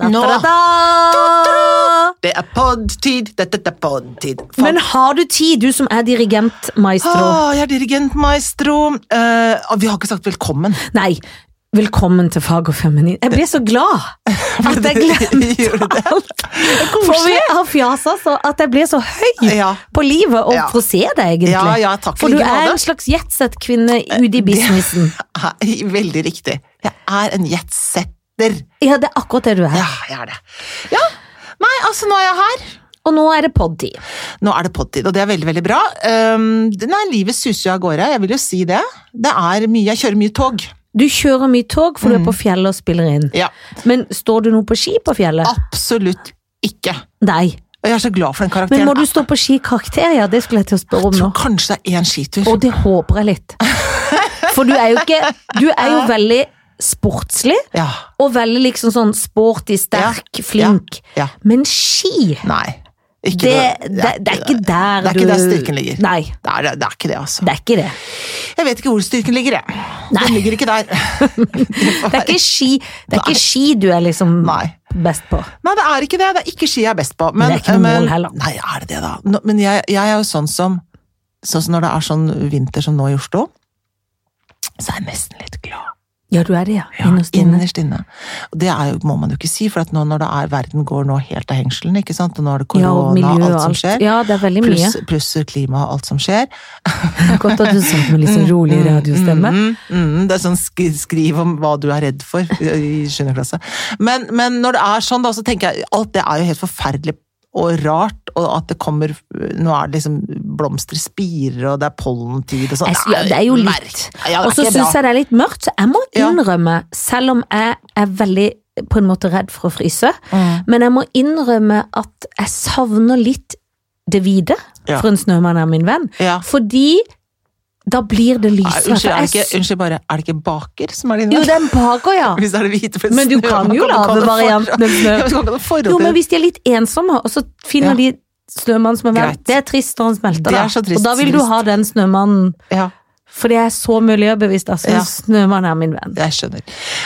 Nå. Det er podtid, dette er podtid. Faen. Men har du tid, du som er dirigent, maestro? Åh, jeg er dirigent, maestro. Ah, Eh, vi har ikke sagt velkommen. Nei. Velkommen til Fag og feminin. Jeg ble så glad at jeg Gjorde du glemte det? alt. For vi har fjasa så at jeg ble så høy Ja. på livet og Ja. for å se deg, egentlig. Ja, ja, takk i for du like er måte. Eh, en slags jetsett-kvinne ute i businessen. Hei, Veldig riktig. Jeg er en jetsetter. Ja, det er akkurat det du er. Ja, jeg er det. Ja. Nei, altså, nå er jeg her. Og nå er det pod-tid. Nå er det podtid, og det er veldig, veldig bra. Um, det- nei, livet suser jo av gårde, jeg vil jo si det. Det er mye, jeg kjører mye tog. Du kjører mye tog, for du er på fjellet og spiller inn. Mm. Ja, Men står du nå på ski på fjellet? absolutt ikke. Nei. Og jeg er så glad for den karakteren. Men må du stå på ski i karakter? Ja, det skulle jeg til å spørre om Jeg nå. tror kanskje det er én skitur. Og det håper jeg litt. For du er jo ikke Du er jo veldig sportslig, Ja. og veldig liksom sånn sporty, sterk, flink. Ja. Men ski, Nei. Ikke det, noe- det, det er ikke der du Det er ikke der styrken ligger. Nei, Det er, det er ikke det, altså. det er ikke det. Jeg vet ikke hvor styrken ligger, jeg. Nei. Den ligger ikke der. Det er ikke ski, det er Nei. ikke ski du er liksom Nei. best på. Nei, det er ikke det. Det er ikke ski jeg er best på. det er ikke noe mål heller. Nei, er det det, da? Nå- Men jeg, jeg er jo sånn som Sånn som når det er sånn vinter som nå i Oslo, så er jeg nesten litt glad. Ja, du er det, ja. Ja, Innerst inne. Innerst inne. Og det er jo, må man jo ikke si, for at nå når det er verden går nå helt av hengselen, ikke sant, og nå er det Ja, og korona, miljø og alt som alt. skjer, Ja, det er veldig mye. pluss, pluss klima og alt som skjer, Godt at du sa det med litt sånn rolig radiostemme. Mm, mm, det er sånn sk skriv om hva du er redd for i i sjuende klasse. Men, men når det er sånn, da, så tenker jeg alt det er jo helt forferdelig og rart, og at det kommer Nå er det liksom blomster spirer, og det er pollentid og sånn. Jeg sy- ja, det er jo litt. merk- Ja, det er Og så ikke syns bra. jeg det er litt mørkt, så jeg må Ja. innrømme, selv om jeg er veldig på en måte redd for å fryse, men jeg Mm. må innrømme at jeg savner litt det hvite, Ja. for en snømann er min venn, Ja. fordi da blir det Nei, lysere. unnskyld, for er det jeg ikke, s- unnskyld bare, er det ikke baker som er din Jo, venn? den baker, ja. Hvis det er det hvite for Men du snø, kan man jo man lage kan ha varianten forhold- med snø. Ja, men man kan ha forhold Jo, men til- hvis de er litt ensomme, og så finner Ja. de snømannen som er venn, Greit. det er trist når han smelter. Det er da. så trist, og da vil du trist. ha den snømannen, ja. for det er så miljøbevisst, altså. Ja. Snømannen er min venn. Jeg skjønner.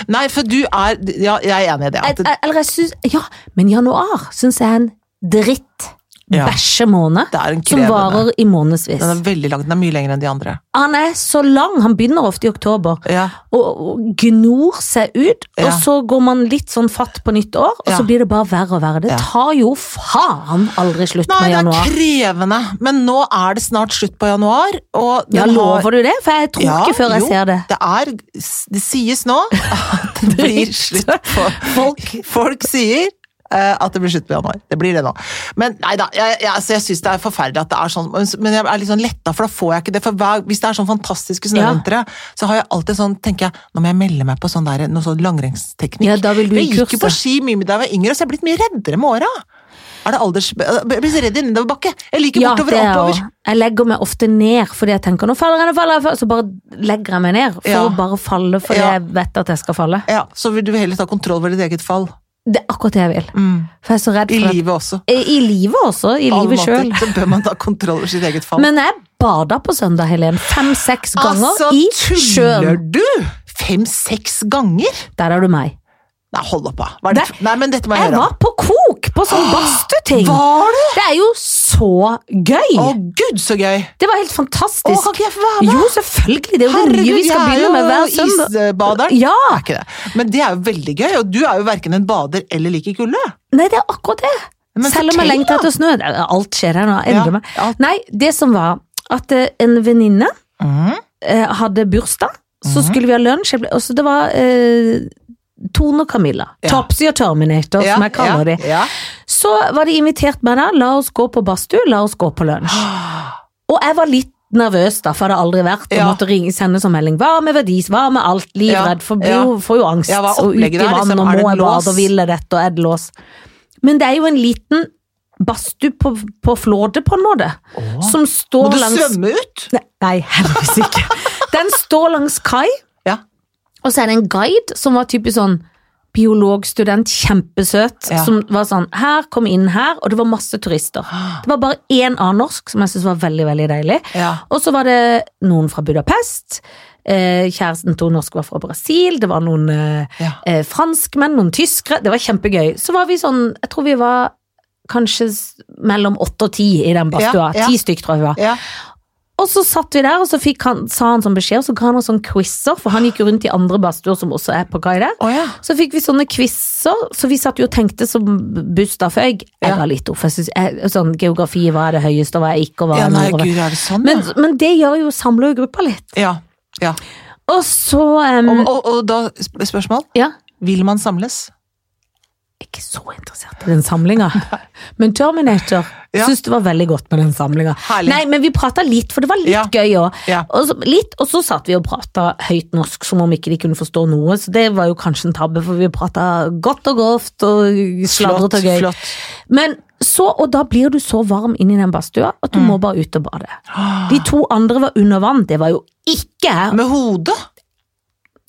Nei, for du er Ja, jeg er enig i det. Jeg- at- jeg- Eller jeg synes, ja, men januar syns jeg er en dritt Ja. bæsjemåned Det er en som krevende- varer i månedsvis. Den er veldig lang. Den er mye lengre enn de andre. Han er så lang, han begynner ofte i oktober, Ja. og, og gnor seg ut, Ja. og så går man litt sånn fatt på nytt år, og Ja. så blir det bare verre og verre. Det Ja. tar jo faen aldri slutt Nei, med det januar. er krevende, men nå er det snart slutt på januar. Og den Ja, har- lover du det? For jeg tror Ja, ikke før jeg jo, ser det. Det, er, det sies nå at det blir slutt på Folk Folk sier eh, at det blir slutt på januar. Det blir det nå. Men nei da, jeg, jeg, altså, jeg syns det er forferdelig at det er sånn, men jeg er litt sånn letta, for da får jeg ikke det. For hver, hvis det er sånn fantastiske snøvintre, så har jeg alltid sånn, tenker jeg, nå må jeg melde meg på sånn der, noe sånn langrennsteknikk. Ja, da vil du i jeg gikk jo på kurset. ski mye med da jeg var yngre, så jeg er blitt mye reddere med åra. Er det alders... Jeg blir så redd i nedoverbakke. Jeg liker Ja, det bortover er og oppover. også. Jeg legger meg ofte ned fordi jeg tenker nå faller jeg, nå faller jeg, faller jeg», så bare legger jeg meg ned for Ja. å bare falle fordi Ja. jeg vet at jeg skal falle. Ja, så vil du heller ta kontroll over ditt eget fall. Det er akkurat det jeg vil. For jeg er så redd Mm. I for at livet også. Eh, I livet også. I livet sjøl. Allmater, så bør man ta kontroll over sitt eget fall. Men jeg bada på søndag, Helen. Fem-seks ganger altså, i tuller sjøen. du? Fem-seks ganger? Der er du meg. Nei, hold opp, da. Hva er det? Det- for- Nei, men dette må jeg Jeg høre var om. på kok! På sånn badstueting. Var du? Det er jo så gøy! Å gud, så gøy! Det var helt Å, fantastisk. kan ikke jeg få være med? Jo, selvfølgelig. Det er jo det nye vi skal jeg er begynne med hver jo søndag. isbaderen. Ja. Det er ikke det. Men det er jo veldig gøy, og du er jo verken en bader eller liker kulde. Nei, det er akkurat det. Men Selv om jeg fortell, lengter etter snø. det er- Alt skjer her nå. Jeg Ja, Endrer meg. alt. Nei, det som var at eh, en venninne Mm. eh, hadde bursdag, så Mhm. skulle vi ha lunsj. Jeg ble- og så det var eh, Tone og Camilla. Ja. Topsy og Terminator, Ja, som jeg kaller ja, de. Ja. Så var de invitert meg da. La oss gå på badstue, la oss gå på lunsj. Og jeg var litt nervøs, da, for jeg hadde aldri vært og Ja. måtte ringe, sende sånn melding. Hva med verdis, hva med alt? Livredd, for blir jo, Ja. får jo angst. Ja, hva er og ut i opplegget der, vann, liksom? og Er det må jeg lås? bade, og ville dette, og er det lås? Men det er jo en liten badstue på, på Flåde, på en måte, som Må står du langs svømme ut? Ne- Nei, heldigvis ikke. Den står langs kai, Ja. og så er det en guide som var typisk sånn biologstudent, kjempesøt, Ja. som var sånn her, kom inn her, og det var masse turister. Det var bare én annen norsk, som jeg syntes var veldig, veldig deilig. Ja. Og så var det noen fra Budapest, eh, kjæresten til norsk var fra Brasil, det var noen eh, Ja. eh, franskmenn, noen tyskere. Det var kjempegøy. Så var vi sånn, jeg tror vi var kanskje s- mellom åtte og ti i den badstua. Ja, ja. Ti stykk, tror jeg vi var. Ja. Og så satt vi der, og så fikk han, sa han sånn beskjed, og så ga han oss sånn quizer, for han gikk jo rundt i andre badstuer som også er på guide. Å ja. Så fikk vi sånne quizer, så vi satt jo og tenkte som Busta Føgg. Jeg Ja. var litt off, jeg synes, jeg, sånn geografi, hva er det høyeste, og hva er ikke, og hva ja, er nei, nordover. gud, er det sånn, Men, ja? men det gjør jo samler jo gruppa litt. Ja. ja. Og så em, Og, og, og da sp- spørsmål. Ja. Vil man samles? Ikke så interessert i den samlinga. Men Terminator Ja. syns det var veldig godt med den samlinga. Herlig. Nei, men vi prata litt, for det var litt Ja. gøy òg. Ja. Og, så- litt, og så satt vi og prata høyt norsk, som om ikke de kunne forstå noe. Så det var jo kanskje en tabbe, for vi prata godt og grovt og Flott. sladret og gøy. flott. Men så, og da blir du så varm inni den badstua at Mm. du må bare ut og bade. De Ah. to andre var under vann, det var jo ikke her. Med hodet?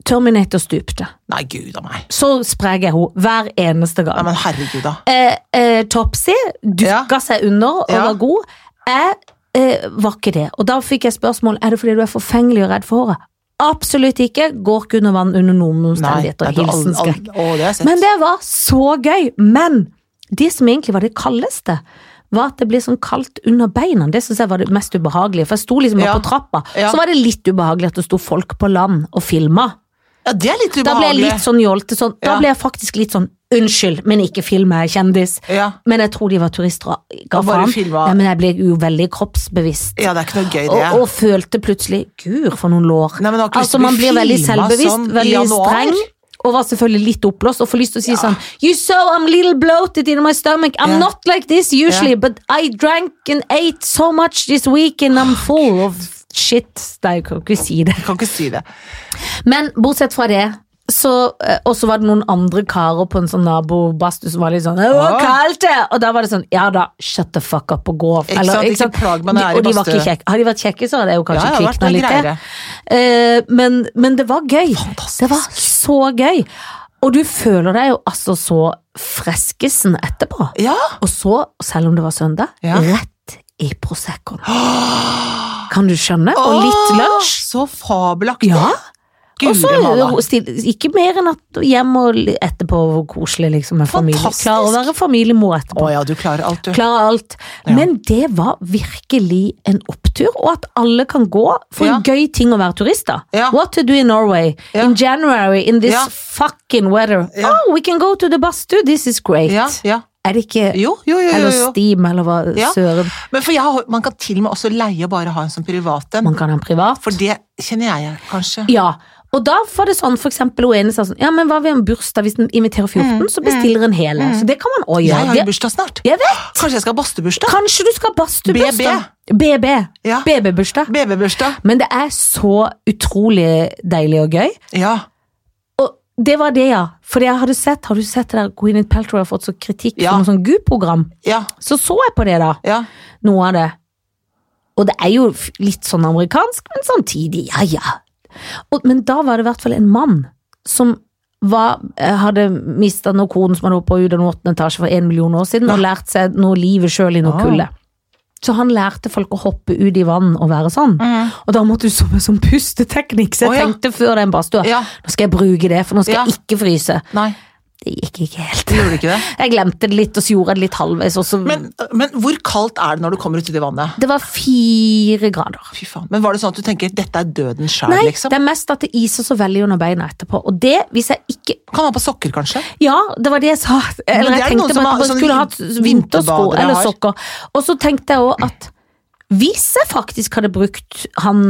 Terminator stupte. Nei, gud a meg. Så sprek er hun hver eneste gang. Nei, men herregud, da. eh, eh, Topsy dukka Ja. seg under og Ja. var god. Jeg eh, var ikke det. Og da fikk jeg spørsmål er det fordi du er forfengelig og redd for håret. Absolutt ikke. Går ikke under vann under noen omstendigheter. du har aldri- Hilsen skrekk. aldri- Å, det har jeg sett. Men det var så gøy. Men det som egentlig var det kaldeste, var at det ble sånn kaldt under beina. Det syns jeg var det mest ubehagelige. For jeg sto liksom bare Ja. på trappa. Ja. Så var det litt ubehagelig at det sto folk på land og filma. ja, det er litt ubehagelig. Da ble jeg litt sånn jålete. Sånn. Da Ja. ble jeg faktisk litt sånn unnskyld, men ikke film, jeg er kjendis. ja. Men jeg tror de var turister og ga Og bare faen. filma. Ja, men jeg ble jo veldig kroppsbevisst. ja, det er ikke noe gøy, det. Og, og følte plutselig Gud, for noen lår. Nei, men har ikke lyst altså, til å man bli blir veldig filmet selvbevisst, sånn i veldig januar. streng. Og var selvfølgelig litt oppblåst og får lyst til å si sånn You so I'm little bloated in my stomach. I'm Ja. not like this usually, but I drank and ate so much this week and I'm full of shit. Nei, jeg kan ikke si det. Jeg kan ikke si det. Men bortsett fra det så, eh, og så var det noen andre karer på en sånn nabobadstue som var litt sånn «Å, Åh. Hvor kaldt det er!» Og da var det sånn Ja da, shut the fuck up og gå. Ikke sant, ikke plag meg når jeg er i Og de var badstue. ikke kjekke. Har de vært kjekke, så hadde jeg jo Ja, kanskje det har vært kvikna noe litt. greiere. Eh, men, men det var gøy. Fantastisk. Det var så gøy. Og du føler deg jo altså så freskesen etterpå. Ja. Og så, selv om det var søndag, Ja. rett i Proseccoen. Kan du skjønne? Og litt Åh, lunsj. Så fabelaktig. Ja. Og så Guri malla. stil- ikke mer enn at hjem og l- etterpå hvor koselig liksom med familie. Fantastisk. Klar å være familiemor etterpå. Å ja, du klarer alt, du. Klar alt. Men det var virkelig en opptur, og at alle kan gå for Ja. en gøy ting å være turister. Ja. What to do in Norway Ja. in January in this Ja. fucking weather. Ja. Oh, we can go to the bastu, this is great. Ja, ja. Er det ikke Jo, jo, jo. jo, Eller jo. Steam, eller hva Ja. søren. Men for jeg har, man kan til og med også leie og bare ha en som privat en. Man kan ha en privat. For det kjenner jeg, kanskje. Ja, og da var det sånn, for eksempel hun ene sa sånn, ja, men hva ved en bursdag, hvis den inviterer 14, så bestiller en hele. Så det kan man også Mm, Jeg har gjøre. jo Ah, bursdag snart. Det, jeg vet, Kanskje jeg skal ha badstuebursdag? kanskje du skal ha badstuebursdag. BB. Ja. BB-bursdag. BB-bursdag? Men det er så utrolig deilig og gøy. Ja. Og det var det, ja. For jeg hadde sett, har du sett det der Gwyneth Paltrow har fått så kritikk Ja. for noe sånn GU-program? Ja. Så så jeg på det da, Ja. noe av det. Og det er jo f- litt sånn amerikansk, men samtidig, ja ja. Og, men da var det i hvert fall en mann som var, eh, hadde mista noe koden som hadde hoppa ut av den åttende etasje for en million år siden, og lært seg noe livet sjøl i noe Ah. kulde. Så han lærte folk å hoppe ut i vann og være sånn. Og da måtte du som en sånn pusteteknikk, så jeg Mm. Å, ja. tenkte før den badstua Ja. Nå skal jeg bruke det, for nå skal Ja. jeg ikke fryse. Nei, Det gikk ikke helt. gjorde du ikke det? Jeg glemte det litt, og så gjorde jeg det litt halvveis. Og så, Men, men hvor kaldt er det når du kommer uti det vannet? det var fire grader. Fy faen. Men var det sånn at du tenker 'dette er døden sjæl', Nei, liksom? det er mest at det iser så veldig under beina etterpå. Og det, hvis jeg ikke Kan ha på sokker, kanskje? Ja, det var det jeg sa. Eller det er jeg noen tenkte som på har at man sånne skulle hatt vin- vintersko vinterbadere eller har. sokker. Og så tenkte jeg òg at hvis jeg faktisk hadde brukt han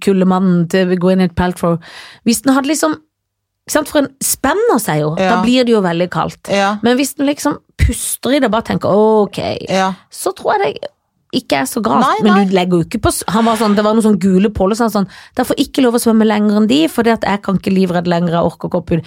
kullemannen til Gwyneth Paltrow Hvis den hadde liksom ikke sant, For en spenner seg jo. Ja. Da blir det jo veldig kaldt. Ja. Men hvis den liksom puster i det og bare tenker ok, ja. så tror jeg det ikke er så galt. Nei, nei. Men du legger jo ikke på s- Han var sånn, Det var noen sånn gule påler så han sånn Det får ikke lov å svømme lenger enn de, for det at jeg kan ikke livredd lenger, jeg orker ikke opp ut.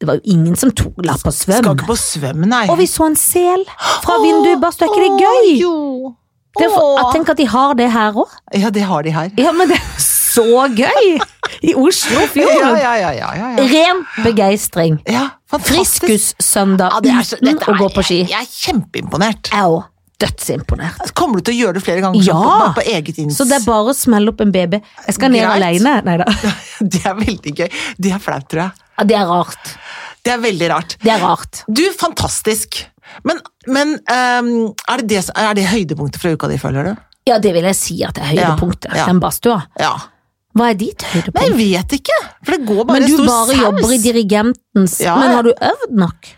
Det var jo ingen som tok la på Skal svøm. ikke på svøm, nei. Og vi så en sel fra vinduet i badstua, er ikke det Å, gøy? Jo. Det er for, jeg Å. tenker at de har det her òg. Ja, det har de her. Ja, men det er jo så gøy! I Ja, Oslofjorden. ja, ja. ja, ja, ja. Ren begeistring. ja fantastisk. Friskussøndag Ja, det er så, uten dette å er, gå på ski. Jeg, jeg er kjempeimponert. Jeg òg. dødsimponert. Kommer du til å gjøre det flere ganger? sånn, Ja! På, på eget inns... Så det er bare å smelle opp en BB. Jeg skal ned Greit. alene. Nei da. Det er veldig gøy. Det er flaut, tror jeg. Ja, det er rart. Det er veldig rart. Det er rart. Du, fantastisk! Men, men ehm, er, det det, som- er det høydepunktet fra uka di, føler du? Ja, det vil jeg si at det er høydepunktet. Ja, ja. Den badstua. Ja. Hva er ditt Nei, jeg høydepunkt? vet ikke! For det går bare Men en du stor bare saus. jobber i dirigentens Ja, Men ja. har du øvd nok?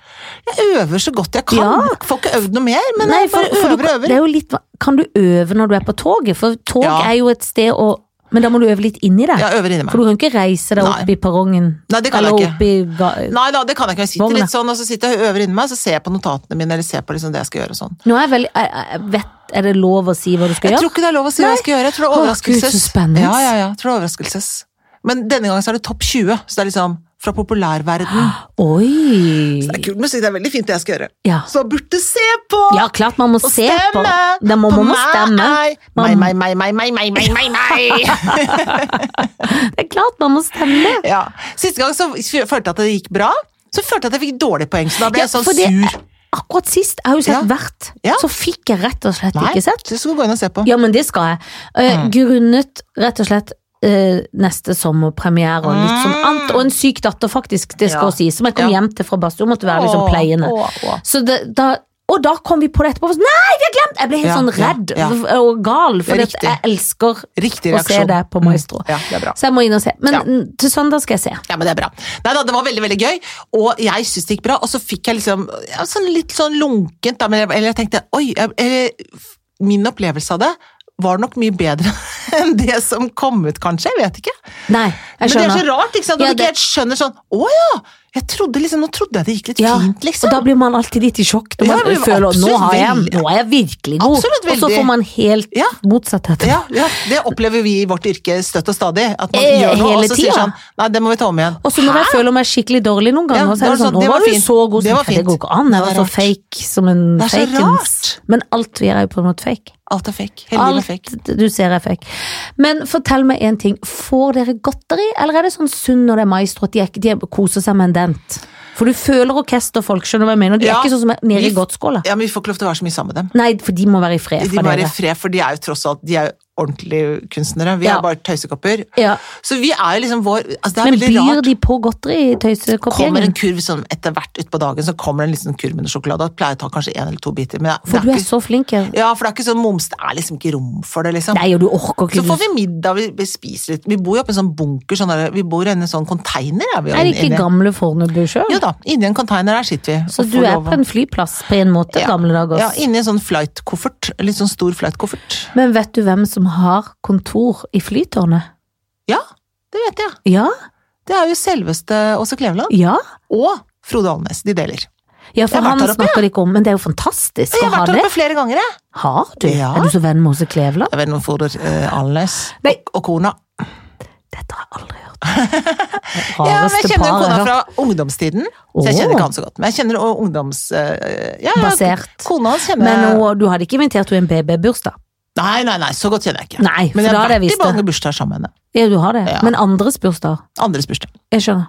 Jeg øver så godt jeg kan. Ja. Får ikke øvd noe mer, men Nei, jeg bare for- for du- øver og øver. Det er jo litt, kan du øve når du er på toget? For tog Ja. er jo et sted å Men da må du øve litt inni det. Jeg øver inni For meg. du kan ikke reise deg opp i Nei. perrongen. Nei, det kan jeg eller ikke. opp i ga- Nei da, det kan jeg ikke. Jeg sitter Vogna. litt sånn, og så sitter jeg og øver inni meg, så ser jeg på notatene mine, eller ser på liksom det jeg skal gjøre og sånn. Nå er jeg veldig jeg, jeg vet, Er det lov å si hva du skal Jeg gjøre? tror ikke det er lov å si hva jeg skal gjøre. Jeg tror Å, det er Gud, så overraskelses. spennende. ja, ja, ja, jeg tror det er overraskelses. Men denne gangen så er det topp 20, så det er liksom fra populærverden. Ah. Oi! Det er kul musikk, det er veldig fint det jeg skal gjøre. Ja. Så man burde se på! ja, klart man må Og se på stemme! Da må på man må stemme. Meg, Man- meg, meg, meg, meg, meg, meg, meg, meg. Det er klart man må stemme! ja. Siste gang så følte jeg at det gikk bra, så følte jeg at jeg fikk dårlig poeng, så da ble Ja, jeg sånn for det- sur. Akkurat sist, jeg har jo sett Ja. hvert, Ja. så fikk jeg rett og slett Nei, ikke sett. så skal du gå inn og se på. Ja, men det skal jeg. Eh, Mm. Grunnet rett og slett eh, neste sommerpremiere og litt sånn annet. Og en syk datter, faktisk, det skal Mm. Ja. sies. Som jeg kom Ja. hjem til fra badstua, måtte være liksom Åh, pleiende. åh, åh. Så det, da, og da kom vi på det etterpå. og så, Nei, vi har glemt! Jeg ble helt Ja, sånn ja, redd ja. og- og gal, for Det er jeg elsker Riktig å se reaksjon. Mm. det på Maestro. Ja, det er bra. Så jeg må inn og se. Men Ja. mm, til søndag skal jeg se. Ja, men det er bra. Nei da, det var veldig, veldig gøy, og jeg syns det gikk bra. Og så fikk jeg liksom ja, sånn litt sånn lunkent, da, men jeg, eller jeg tenkte oi, jeg, eller, min opplevelse av det var nok mye bedre enn det som kom ut, kanskje. Jeg vet ikke. Nei, jeg men det er skjønner. så rart, ikke sant, når Ja, du det- ikke helt skjønner sånn Å ja! Jeg trodde liksom, Nå trodde jeg det gikk litt Ja, fint, liksom. Og da blir man alltid litt i sjokk når Ja, man det blir føler at nå, absolutt har jeg- veldig- nå er jeg virkelig god, Absolutt og så veldig. får man helt Ja. motsatt etterpå. ja, ja, det opplever vi i vårt yrke støtt og stadig. At man Eh, gjør noe, hele og så sier tida. sånn Nei, det må vi ta om igjen. Og så når jeg føler meg skikkelig dårlig noen ganger, Ja, så er det da er det sånn, sånn, nå det var var du fint. så god, Det så var det fint. går ikke an, jeg Det var var så fake som en Det er så fakens. rart. Men alt vi gjør er jo på en måte fake. Alt er fake. Hele livet er fake. Alt du ser er fake. Men fortell meg en ting, får dere godteri, eller er det sånn sunn når det er maestro, at de, er, ikke- de koser seg med en dent? For du føler orkesterfolk, skjønner du hva jeg mener, de Ja. er ikke sånn som er nede Vi- i godtskåla. Ja, men vi får ikke lov til å være så mye sammen med dem. Nei, for de må være i fred De fra må være i dere. fred, for de er jo tross alt de er jo ordentlige kunstnere. Vi Ja. er bare tøysekopper. Ja. Så vi er jo liksom vår altså Det er Men veldig byr rart. de på godteri i Kommer en tøysekoppgjengen? kurv sånn etter hvert utpå dagen, så kommer det en liten kurv med noe sjokolade. Jeg pleier å ta kanskje en eller to biter. Men det For er du er ikke, så flink, ja. ja, for det er ikke sånn moms. Det er liksom ikke rom for det, liksom. Nei, og du orker Så ikke. får vi middag, vi, vi spiser litt. Vi bor jo oppe i en sånn bunker, sånn der, vi bor inne i en sånn container. Er vi jo Er det inne ikke i. gamle Fornebu sjøl? Jo da, inni en container der sitter vi. Så og du får er lov på å- en flyplass på en måte, Ja. gamle dager. Ja, inni en sånn flight-koffert. Litt sånn stor flight-koffert. Men vet du hvem som har kontor i Flytårnet? Ja, det vet jeg. Ja, Det er jo selveste Åse Kleveland. ja. og Frode Alnes. De deler. Ja, for Jeg har han vært der oppe, snakker de ikke om, men det er jo fantastisk Jeg å har ha vært der det. oppe flere ganger, jeg. Har du? Ja. Er du så venn med Åse Kleveland? Jeg vet noen Frode eh, Alnes Nei. og, og kona. Dette har jeg aldri hørt. Ja, men jeg Rareste kjenner jo par jeg kona har hørt. fra ungdomstiden, så jeg kjenner Åh. ikke han så godt. Men jeg kjenner også ungdoms... eh, ja, ja, Basert. Kona hans kjenner Men jeg hun- du hadde ikke invitert henne i en BB-bursdag? Nei, nei, nei, så godt kjenner jeg ikke. Nei, for Men jeg da har hadde jeg vært i visst det. mange bursdager sammen med henne. Ja, du har det. Ja. Men andres bursdag? Andres bursdag. Jeg skjønner.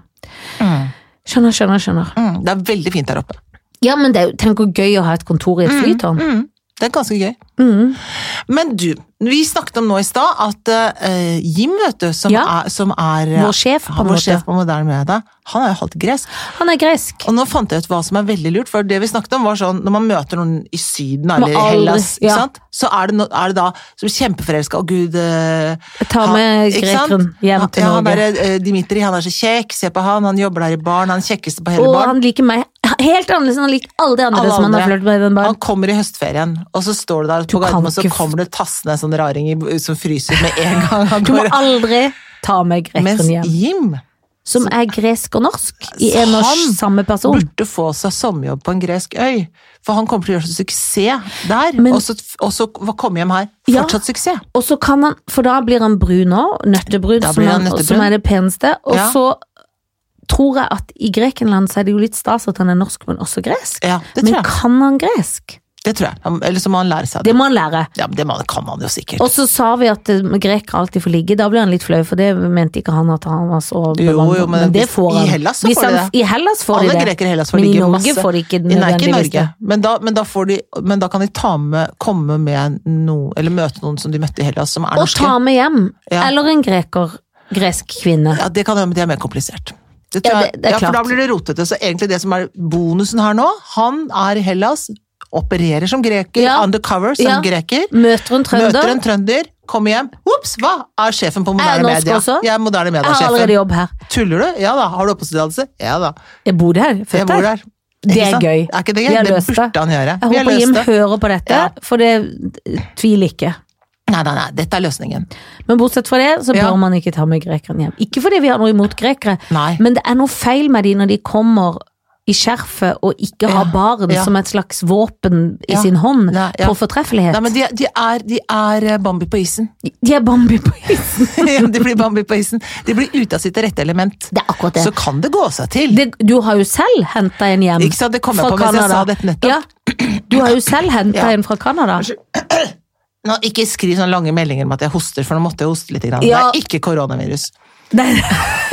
Mm. Skjønner, skjønner, skjønner. Det er veldig fint der oppe. Ja, men det er jo, tenk hvor gøy å ha et kontor i et flytårn. Mm. Det er ganske gøy. Mm. Men du, vi snakket om nå i stad at eh, Jim, vet du, som Ja. er, som er eh, Vår sjef, på en vår måte. sjef på moderne media, han er jo halvt gresk. Han er gresk. Og nå fant jeg ut hva som er veldig lurt, for det vi snakket om var sånn, når man møter noen i Syden eller i aldri- Hellas, ikke ja. sant? så er det, no, er det da som kjempeforelska, å gud eh, Jeg tar han- med ikke sant? grekeren hjem til ja, han Norge. der, eh, Dimitri, han er så kjekk, se på han, han jobber der i baren, han er den kjekkeste på hele Og baren. han liker meg helt annerledes enn han liker alle de andre Alle som han har andre. flørtet med i den Han baren. kommer i høstferien, og så står du der på kan Gardermoen, så ikke f- kommer det tassende en sånn raring i- som fryser med en gang han Du må går. aldri ta med Mens grekeren hjem. Jim Som er gresk og norsk i en og Han samme person. burde få seg sommerjobb på en gresk øy, for han kommer til å gjøre så suksess der, Men- og så, og så komme hjem her. Ja. Fortsatt suksess. Og så kan han, for da blir han brun òg, nøttebrun, Da som, blir han han- nøttebrun. som er det peneste. Og Ja. så tror jeg at i Grekenland så er det jo litt stas at han er norsk, men også gresk. Ja, det Men tror jeg. kan han gresk? Det tror jeg. Eller så må han lære seg det. Det må han lære. Ja, men Det må- kan man jo sikkert. Og så sa vi at eh, grekere alltid får ligge. Da ble han litt flau, for det mente ikke han at han var så Jo, jo, bevandret. men det hvis- får han. i Hellas så Hvis får de han- det. I Hellas får Alle de det. grekere i Hellas får men i ligge Norge masse. får de ikke Nei, ikke i nødvendigvis Norge, det. men da, men, da får de, men da kan de ta med, komme med noe, eller møte noen som de møtte i Hellas, som er Og norske. ta med hjem. Ja. Eller en greker. Gresk kvinne. Ja, det kan hende, men det er mer komplisert. Det Ja, tror jeg- det- det er ja, for da klart. blir det rotete. Så egentlig det som er bonusen her nå, han er i Hellas, opererer som greker, Ja. undercover som Ja. greker, Møter en møter trønder. en trønder, kommer hjem, ups, hva er sjefen på Er jeg moderne norsk media? også? Jeg er moderne Jeg har media-sjefen. allerede jobb her. Tuller du? Ja da. Har du oppholdstillatelse? Ja da. Jeg bodde her. Jeg Født bor her. der. Det Ikke er sant? gøy. Er ikke det Vi gøy? har Det løst burde det. han gjøre. Jeg Vi har håper løst Jim det. hører på dette, Ja. for det tviler ikke. Nei, nei, nei, dette er løsningen. Men bortsett fra det, så bør Ja. man ikke ta med grekeren hjem. Ikke fordi vi har noe imot grekere, Nei. men det er noe feil med de når de kommer i skjerfet og ikke har Ja, barn ja. som et slags våpen i Ja, sin hånd nei, ja. på fortreffelighet. Nei, men de, de, er, de er eh, Bambi på isen. De er Bambi på isen. de blir Bambi på isen. De blir ute av sitt rette element. Det er akkurat det. Så kan det gå seg til. det du har jo selv henta en hjem Ikke sant, det kom jeg fra på mens jeg sa Canada. dette nettopp. Ja, du har jo selv henta Ja. en fra Canada. Nå, ikke skriv sånne lange meldinger om at jeg hoster, for nå måtte jeg hoste litt. Grann. Ja. Det er ikke koronavirus. Nei.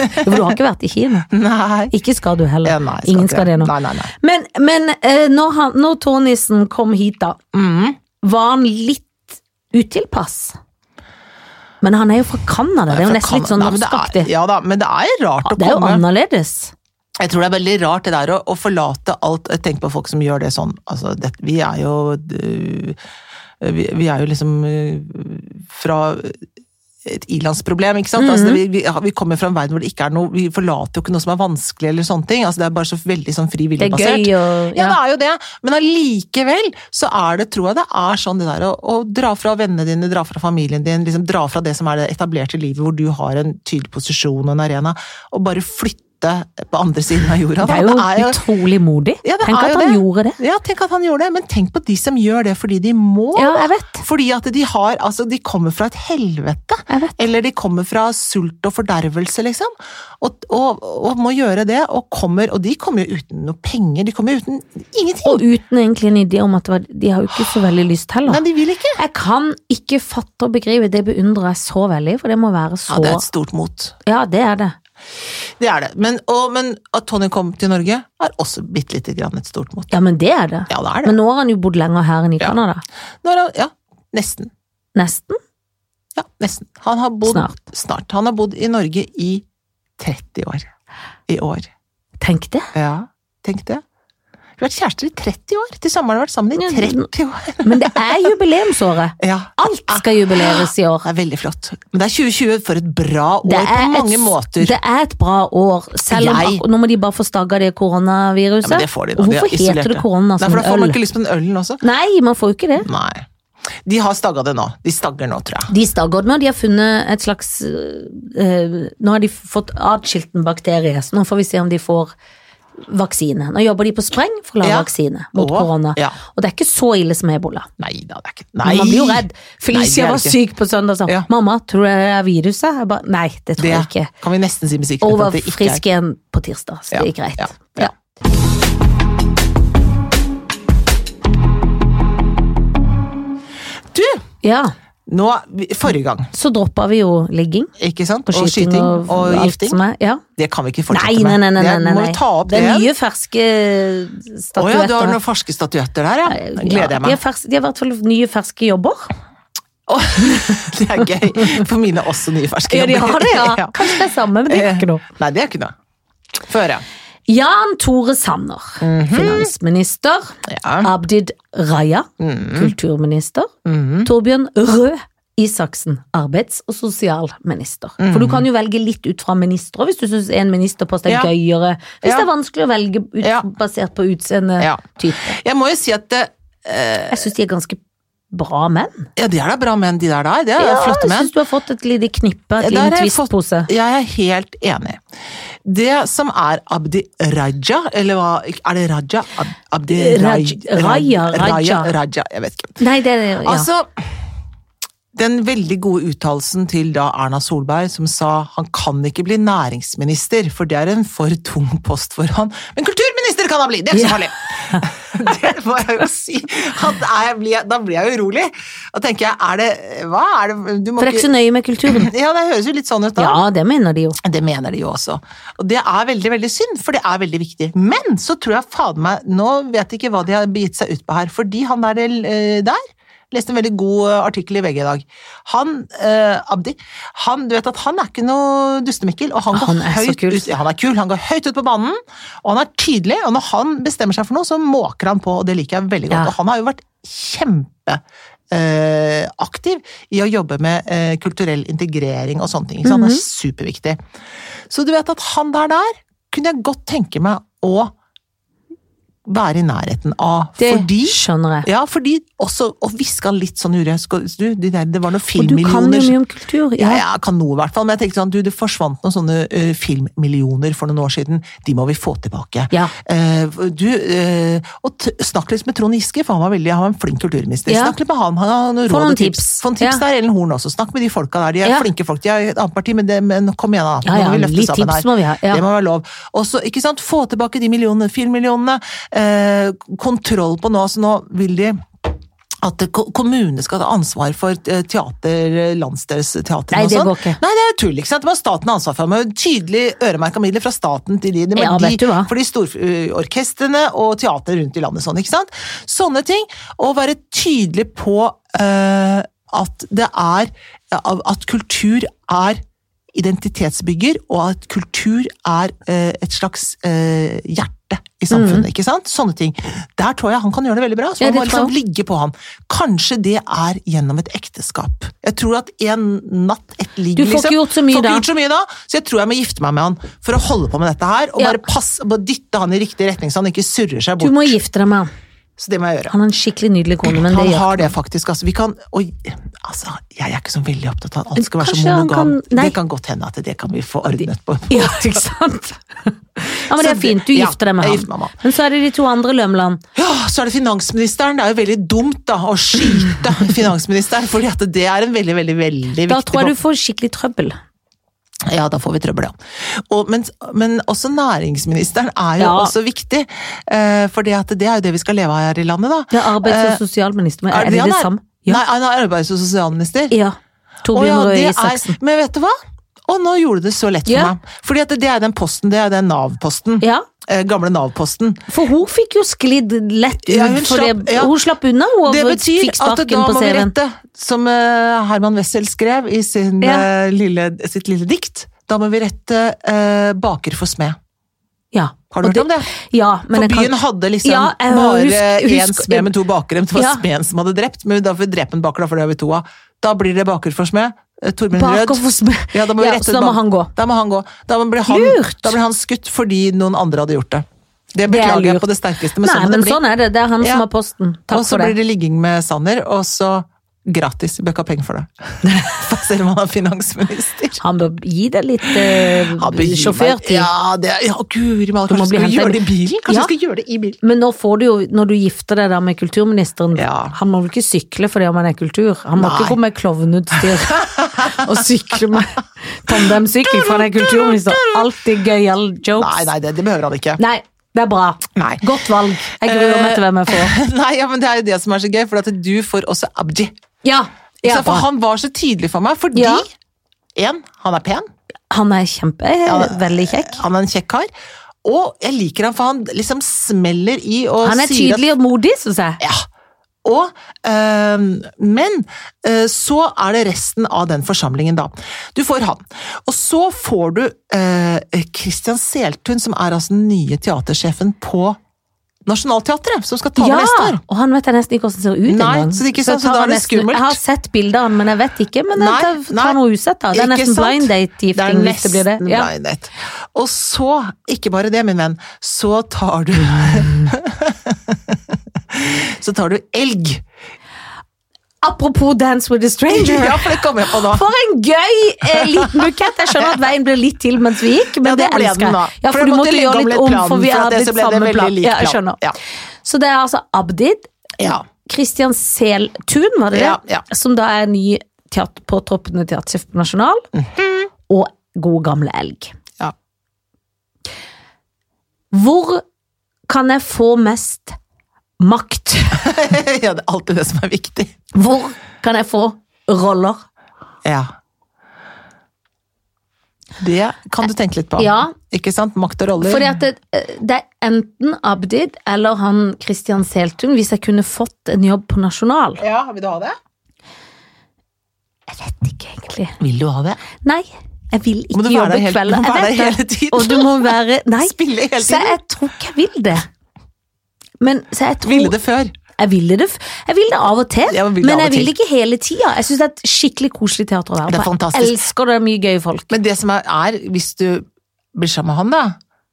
For du har ikke vært i Kina. Nei. Ikke skal du heller. Ja, nei, skal Ingen ikke skal det nå. Nei, nei, nei. Men, men eh, når, han, når Tornissen kom hit da, Mhm. var han litt utilpass? Men han er jo fra Canada, det er jo Fra nesten litt Canada. sånn Nei, men det er- norskaktig. Ja da, men det er jo rart å Det er jo komme annerledes. Jeg tror det er veldig rart det der å, å forlate alt Tenk på folk som gjør det sånn. Altså, det, vi er jo øh, vi, vi er jo liksom øh, fra et ilandsproblem, ikke sant? Mhm. altså, vi, vi, har- vi kommer fra en verden hvor det ikke er noe Vi forlater jo ikke noe som er vanskelig eller sånne ting. Altså, det er bare så veldig sånn fri Det er vilje-basert. gøy å Ja, det ja. er jo det, men allikevel så er det, tror jeg det er sånn det der å, å dra fra vennene dine, dra fra familien din, liksom dra fra det som er det etablerte livet hvor du har en tydelig posisjon og en arena, og bare flytte på andre siden av jorda. Det da. er jo utrolig modig. Ja, det Tenk er at jo han det. gjorde det. Ja, tenk at han gjorde det, men tenk på de som gjør det fordi de må. Ja, jeg vet. Fordi at de har, altså de kommer fra et helvete. Jeg vet. Eller de kommer fra sult og fordervelse, liksom. Og, og, og må gjøre det, og kommer, og de kommer jo uten noe penger, de kommer jo uten ingenting. Og uten egentlig en idé om at det var, de har jo ikke så veldig lyst heller. Nei, de vil ikke. Jeg kan ikke fatte og begripe, det beundrer jeg så veldig, for det må være så Ja, det er et stort mot. Ja, det er det. Det er det. Men, og, men at Tony kom til Norge, er også bitte lite grann et stort mot. Ja, men det er det. Ja, det er det. Men nå har han jo bodd lenger her enn i Ja. Canada. Nå er han, ja, nesten. Nesten. Ja, nesten. Han har bodd Snart. snart. Han har bodd i Norge i 30 år. I år. Tenk det. Ja, tenk det. Vi har vært kjærester i 30 år. Til sommeren har vi vært sammen Ja, i 30 år. Men det er jubileumsåret. Ja. Alt skal jubileres i år. Det er veldig flott. Men det er 2020 for et bra år Det på er, mange et, måter. det er et bra år, selv om Jeg- ak- Nå må de bare få stagga det ja, koronaviruset. men det får de da. Og De har Hvorfor isolert heter det korona Nei, som for da får øl? man ikke lyst på den ølen også. Nei, man får jo ikke det. Nei. De har stagga det nå. De stagger nå, tror jeg. De stagger det nå. De har funnet et slags øh, øh, Nå har de fått atskilt en bakterie, så nå får vi se om de får vaksine. Nå jobber de på spreng for å lage Ja. vaksine mot Å, korona. ja. Og det er ikke så ille som ebola. Nei da, det er ikke Men Man blir jo redd. Felicia Nei, det er var det ikke. syk på søndag og sa Ja. 'mamma, tror du det er viruset?' Jeg bare nei, det tror Det jeg ikke. kan vi nesten si med Og sikkerhet. at var det ikke frisk igjen på tirsdag, så det Ja, gikk greit. ja, Ja. ja. Er. Du! ja. Nå, vi- forrige gang, Så droppa vi jo ligging ikke sant? og Og skyting og, og alt gifting. som er. Ja. Det kan vi ikke Nei, fortsette nei, nei. nei, med. nei, Det nei. må vi ta opp det det. er nye ferske Å ja, du har statuetter. noen ferske statuetter der, ja. Da gleder jeg Ja, de, har meg. fers- de har i hvert fall nye ferske jobber. Det er gøy. For mine er også nye ferske Ja, de har det, ja. Ja. Eh. Kanskje det er samme, men det er ikke noe. Nei, det er ikke noe. Få høre. Jan Tore Sanner, finansminister. Mhm. Ja. Mhm. Abdid Raja, kulturminister. Torbjørn Røe Isaksen, arbeids- og sosialminister. For du kan jo velge litt ut fra ministre hvis du syns en ministerpost er Mhm. Ja. gøyere. Hvis Ja. det er vanskelig å velge ut, Ja. basert på utseende Ja. type. Jeg må jo si at det, Jeg syns de er ganske bra menn. ja, de er da bra menn, de der der. Det er flotte jeg menn. syns du har fått et lite knippe, et Der har liten jeg fått- twistpose. Jeg er helt enig. Det som er Abdi Raja, eller hva Er det Raja? Ab Abdi Raj- Raj- Raja, Raja. Raja. Raja, jeg vet ikke. Nei, det er ja. Altså, den veldig gode uttalelsen til da Erna Solberg som sa han kan ikke bli næringsminister, for det er en for tung post for han. Men kulturminister kan han bli! Det er ikke så farlig! Det må jeg jo si. At jeg blir, da blir jeg urolig. Da tenker jeg, er det Hva er det Du må For det er ikke så nøye med kulturen. Ja, det høres jo litt sånn ut, da. Ja, det mener de jo. Det mener de jo også. Og det er veldig veldig synd, for det er veldig viktig. Men så tror jeg fader meg Nå vet jeg ikke hva de har begitt seg ut på her, fordi han der, eh, der Leste en veldig god eh, artikkel i VG i dag. Han, eh, Abdi, han, du vet at han er ikke noe dustemikkel. Og han, går Han er så høyt kul. Ut, ja, han er kul. Han går høyt ut på banen, og han er tydelig. Og når han bestemmer seg for noe, så måker han på, og det liker jeg veldig godt. Ja. Og han har jo vært kjempe eh, aktiv i å jobbe med eh, kulturell integrering og sånne ting. Så Mhm. han er superviktig. Så du vet at han der der kunne jeg godt tenke meg å være i nærheten av. Det fordi skjønner jeg. ja, fordi også å hviske han litt sånn urøst Du, de der, det var noen Og du kan jo filmmillioner mye om kultur. Ja. ja, jeg kan noe i hvert fall, men jeg tenkte sånn, du, det forsvant noen sånne eh, filmmillioner for noen år siden, de må vi få tilbake. Ja. Eh, du, eh, og t snakk litt med Trond Giske, for han var veldig, han var en flink kulturminister. Ja. Snakk litt med han, han har noen Få råd noen og tips. tips. Få noen tips Ja. der, Ellen Horn også. Snakk med de folka der, de er Ja. flinke folk, de er et annet parti, men, det, men kom igjen da, Ja, nå må ja, vi løfte litt sammen tips her. må vi ha, ja. Det må være lov. Og så, ikke sant, få tilbake de millionene, filmmillionene, eh, kontroll på nå, så nå vil de at ko- kommunene skal ha ansvar for eh, teater, eh, landsdelsteater Nei, og det sånn. går ikke. Nei, det er jo tull, ikke sant? Det var staten har ansvar for med tydelig øremerka midler fra staten til de, de, Ja, de vet du hva. for de store orkestrene og teater rundt i landet sånn, ikke sant? Sånne ting. Og være tydelig på eh, at det er at kultur er identitetsbygger, og at kultur er eh, et slags eh, hjerte i samfunnet, ikke sant? Sånne ting. Der tror jeg han kan gjøre det veldig bra. Så Mm. Ja, man det må tror jeg liksom ligge på han. Kanskje det er gjennom et ekteskap. Jeg tror at en natt, et ligg, liksom, Du får ikke gjort så mye Får ikke da. gjort så mye da, så jeg tror jeg må gifte meg med han for å holde på med dette her. Og Ja. bare passe, bare dytte han i riktig retning så han ikke surrer seg Du bort. må gifte deg med han. Så det må jeg gjøre. Han har en skikkelig nydelig kone, men det Han gjør har det faktisk, altså. Vi kan Oi, altså, jeg er ikke så veldig opptatt av at alt skal være så Kanskje han monogam. kan- nei. det kan godt hende at det kan vi få ordnet på. Ja, ikke sant? Ja, men det er Så fint. Du det- ja, gifter deg med jeg han. gifter meg med han. Men så er det de to andre Lømland. Ja, så er det finansministeren. Det er jo veldig dumt da å skyte finansministeren, fordi at det er en veldig, veldig, veldig Da viktig tror jeg du får skikkelig trøbbel. Ja, da får vi trøbbel, ja. Og, men, men også næringsministeren er jo Ja. også viktig. For det, at det er jo det vi skal leve av her i landet, da. Det er arbeids- Eh, og sosialminister, men er er det han det er? samme? Nei, Ja. han er arbeids- og sosialminister. ja. Å ja, Torbjørn Røe det er- Isaksen. Men vet du hva? Og nå gjorde du det så lett for Ja. meg. Fordi at det er den posten, det er den Nav-posten. Ja. Eh, gamle Nav-posten. For hun fikk jo sklidd lett ut, Ja, hun for slapp- det, ja. hun slapp unna hun Det og betyr fikk at sparken da på må vi CV-en. rette, som eh, Herman Wessel skrev i sin, Ja. eh, lille, sitt lille dikt, da må vi rette eh, baker for smed. Ja. Har du og hørt om det? Ja, men For jeg byen kan hadde liksom Ja, jeg bare husk- én husk- smed med to bakere, men det var Ja. smeden som hadde drept. Men da får vi drepe en baker, da, for det har vi to av. Da blir det baker for smed. eh, Torbjørn Rød. Bakover smed. Ja, da må vi Ja, rette så da må bak- han gå. Da må han gå. Da må- blir han, Lurt! Da blir han skutt fordi noen andre hadde gjort det. Det Det er beklager jeg lurt. på det sterkeste, men Nei, sånn må men det bli. sånn er det. Det er han Ja. som har posten. Og Takk så for blir det. det ligging med Sanner, og så gratis. Bøkka penger for det. For selv om han er finansminister. Han bør gi deg litt eh, Ja, begi meg- sjåførtid. Ja, det, ja guri malla, må bli kanskje vi skal hentet gjøre i- det i bilen? Kanskje Ja. vi skal gjøre det i bilen? Men nå får du jo, når du gifter deg da med kulturministeren Ja. Han må vel ikke sykle fordi om han er kultur? Han må Nei. ikke gå med klovneutstyr og sykle med tandemsykkel, for han er kulturminister. Alltid gøyal jokes. Nei, nei, det, det behøver han ikke. Nei, det er bra. Nei. Eh, Godt valg. Jeg gruer meg til hvem jeg får. Nei, ja, men det er jo det som er så gøy, for at du får også Abdi. Ja, Ikke ja sant? for han var så tydelig for meg, fordi Ja. en, han er pen, han er kjempe, veldig kjekk. han er en kjekk kar, og jeg liker han for han liksom smeller i og Han er sier at tydelig og modig, syns jeg. ja. Og, øhm, men øh, så er det resten av den forsamlingen, da. Du får han. Og så får du øh, Christian Seltun, som er altså den nye teatersjefen på Nationaltheatret, som skal ta over Ja, neste år. og han vet jeg nesten ikke hvordan ser ut Nei, engang. så det er ikke sånn, så tar da er han det nesten- skummelt. Jeg har sett bilder av han, men jeg vet ikke. Men Nei, jeg tar, nei. tar noe usett, da. Det er Ikke nesten sant? blind date-gifting hvis det blir det. nesten Ja. blind date. Og så, ikke bare det, min venn, så tar du Så tar du elg. Apropos Dance with a Stranger. Ja, for det kommer jeg på nå. For en gøy eh, liten bukett! Jeg skjønner at veien ble litt til mens vi gikk, men Ja, det det ble den elsker da. jeg. Ja, For for jeg du måtte måtte legge om gjøre litt litt om, plan, for vi for at har det så litt ble det samme veldig plan. lik Ja, jeg plan. skjønner. Ja. Så det er altså Abdid, Ja. Christian Seltun, var det det? Ja, ja. Som da er ny teater, påtroppende teatersjef på Nasjonal. Mhm. Og god gamle Elg. Ja. Hvor kan jeg få mest makt. ja, det er alltid det som er viktig. Hvor kan jeg få roller? Ja. Det kan du tenke litt på. Ja. Ikke sant? Makt og roller. Fordi at det, det er enten Abdid eller han Christian Seltun, hvis jeg kunne fått en jobb på Nasjonal. Ja, vil du ha det? Jeg vet ikke egentlig. Vil du ha det? Nei, jeg vil Må ikke du være jobbe der hele- kvelder. må Jeg være vet der det. hele tiden. Og du må være Nei, Spille hele så tiden? jeg tror ikke jeg vil det. Men så jeg tror Ville det før. Jeg ville det, f- jeg vil det av og til, Ja, men vil det men av og jeg vil til. det ikke hele tida. Jeg syns det er et skikkelig koselig teater å være Det er på. Jeg fantastisk. elsker det, det er mye gøye folk. Men det som er, er hvis du blir sammen med han, da,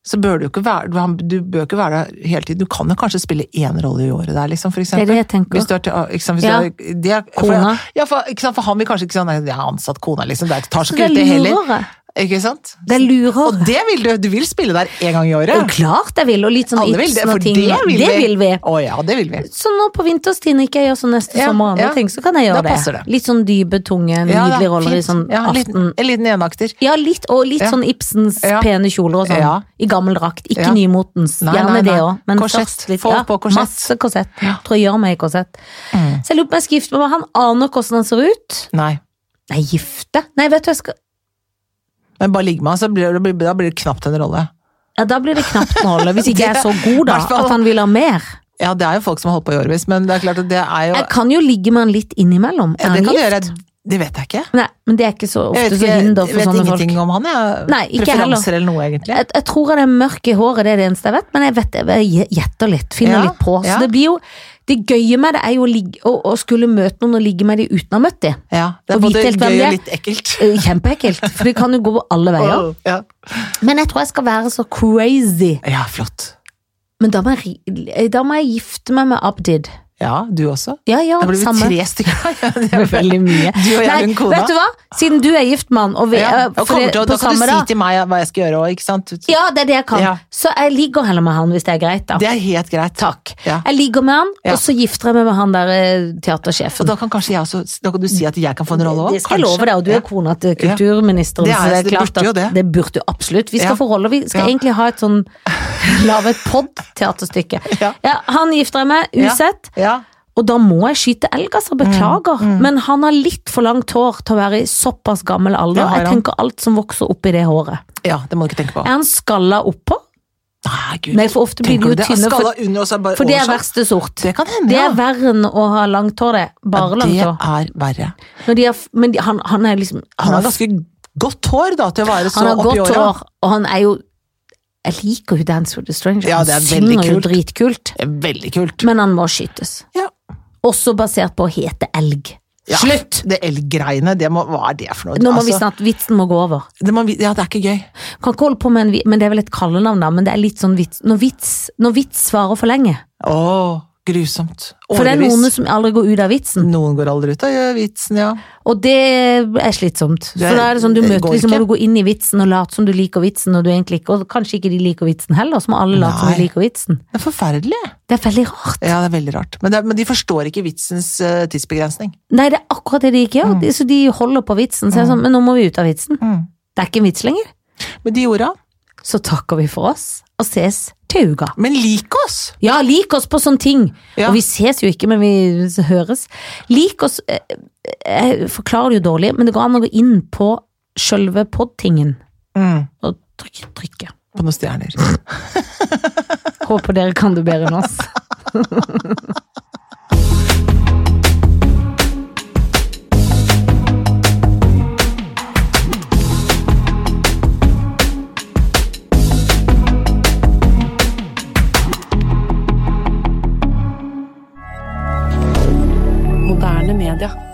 så bør du ikke være du- han- Du bør ikke være der hele tiden. Du kan jo kanskje spille én rolle i året der, liksom, for Det eksempel. er det jeg Hvis tenker. du er til, ikke sant, hvis Ja. du er, det er, Kona. For, ja, for, ikke sant, for han vil kanskje ikke sånn Jeg har ansatt kona, liksom. Det er- tar Så det seg ikke er ut, det heller. lurere. Ikke sant? Det er Og lurere. det vil du! Du vil spille der én gang i Det er jo året. klart jeg vil, og litt sånn Alle vil det, Ibsen for og ting. det vil vi. vi. Å ja, det vil vi. Så nå på vinterstid når ikke jeg gjør sånn neste Ja, sommer og andre ja. ting, så kan jeg Da gjøre passer det. det. Litt sånn dype, tunge, Ja, da, nydelige roller i fint. sånn ja, en liten, aften. en liten enakter. Ja, litt, og litt Ja. sånn Ibsens Ja. pene kjoler og sånn. Ja. I gammel drakt. Ikke Ja. nymotens. Nei, Gjerne nei, det nei. òg. Men Korsett. først litt. Folk på korsett. Masse korsett. Tror jeg gjør meg i korsett. Mm. Så jeg lurer på om jeg skal gifte meg med han. Aner hvordan han ser ut. Nei. Nei, gifte? Nei, vet du, jeg skal Men bare ligg med han, så blir det, da blir det knapt en rolle. ja, Da blir det knapt en rolle. Hvis ikke jeg er så god, da. Hvertfall. At han vil ha mer. Ja, det er jo folk som har holdt på i årevis, men det er klart at det er jo Jeg kan jo ligge med han litt innimellom. Ja, Er det han kan du gjøre. gift? Det vet jeg ikke. Nei, men det er ikke så Jeg ofte vet, så ikke, hinder for vet sånne folk. ingenting om han, jeg. Nei, ikke Preferanser eller noe, egentlig. Jeg, jeg tror han er mørk i håret, det er det eneste jeg vet, men jeg vet, jeg gjetter litt, finner Ja, litt på. Så ja. det blir jo, det gøye med det er jo å, ligge, å, å skulle møte noen og ligge med de uten å ha møtt de. Ja, det Å er vite både helt hvem gøy det og er. litt ekkelt. Eh, Kjempeekkelt, for det kan jo gå alle veier. Ja. Men jeg tror jeg skal være så crazy. ja, flott. Men da må jeg, ri- da må jeg gifte meg med Abdid. Ja, du også. Ja, ja, Da blir vi samme. tre stykker. Ja, det Det er er veldig mye. Du og jeg Nei, og hun kona. vet du hva? Siden du er gift mann, og vi Ja, eh, og for kommer det- til, å- da på kan du samme si da. til meg hva jeg skal gjøre òg, ikke sant? Ja, det er det jeg kan. Ja. Så jeg ligger heller med han hvis det er greit, da. Det er helt greit. Takk. Ja. Jeg ligger med han, Ja. og så gifter jeg meg med han der eh, Og teatersjefen. da kan kanskje jeg også Da kan du si at jeg kan få en rolle òg. Det skal jeg love deg, og du er kona til Ja. kulturministeren. Det er- så det, er det klart burde jo at det. det burde jo absolutt. Vi skal Ja. få roller. Vi skal Ja. egentlig ha et sånn Lage et pod-teaterstykke. Ja. han gifter jeg meg, Ja. Mm, usett. Ja. Og da må jeg skyte elg, altså. Beklager. Men han har litt for langt hår til å være i såpass gammel Det alder. har Jeg han. tenker alt som vokser oppi det håret. ja, det må du ikke tenke på. Er han skalla oppå? Nei, gud. Nei, for ofte blir Tenker de du jo det? tynne. Skalla For, under, og så er bare for det er oversatt? verste sort. Det kan hende, Det ja. er verre enn å ha langt hår, det. Bare langt det hår. er verre. Når de har, f- men de, han, han er liksom Han Han, har har, ganske godt hår da, til å være så han har oppi godt åra. hår, og han er jo Jeg liker jo Dance with the Stranger. Ja, han det er veldig synger jo kult. dritkult, Det er Veldig kult. men han må skytes. Ja. Også basert på å hete elg. Ja, Slutt! Det elggreiene, det må, hva er det for noe? Nå må vi Altså, snart, Vitsen må gå over. det må vi, ja, det er ikke gøy. Kan ikke holde på med en vi- Men Det er vel et kallenavn, da, men det er litt sånn vits Når vits, når vits svarer for lenge. Å, grusomt. For det er Årevis. noen som aldri går ut av vitsen, Noen går aldri ut av ja, vitsen, ja. og det er slitsomt. Det- For da er det sånn du det møter går liksom, ikke. må du gå inn i vitsen og late som du liker vitsen, og du egentlig ikke Og kanskje ikke de liker vitsen heller, så må alle late som Nei. de liker vitsen. Det er forferdelig. Det er veldig rart. Ja, det er veldig rart. Men, det, er- men de forstår ikke vitsens eh, tidsbegrensning. Nei, det er akkurat det de ikke gjør. De- Så de holder på vitsen. Så jeg er sånn, men nå må vi ut av vitsen. Mm. Det er ikke en vits lenger. Med de orda. Så takker vi for oss, og ses til uka. Men lik oss! Ja, lik oss på sånne ting! Ja. Og vi ses jo ikke, men vi høres. Lik oss eh, Jeg forklarer det jo dårlig, men det går an å gå inn på sjølve pod-tingen Mm. og trykke. trykke. På noen stjerner. Håper dere kan det bedre enn oss. Moderne media.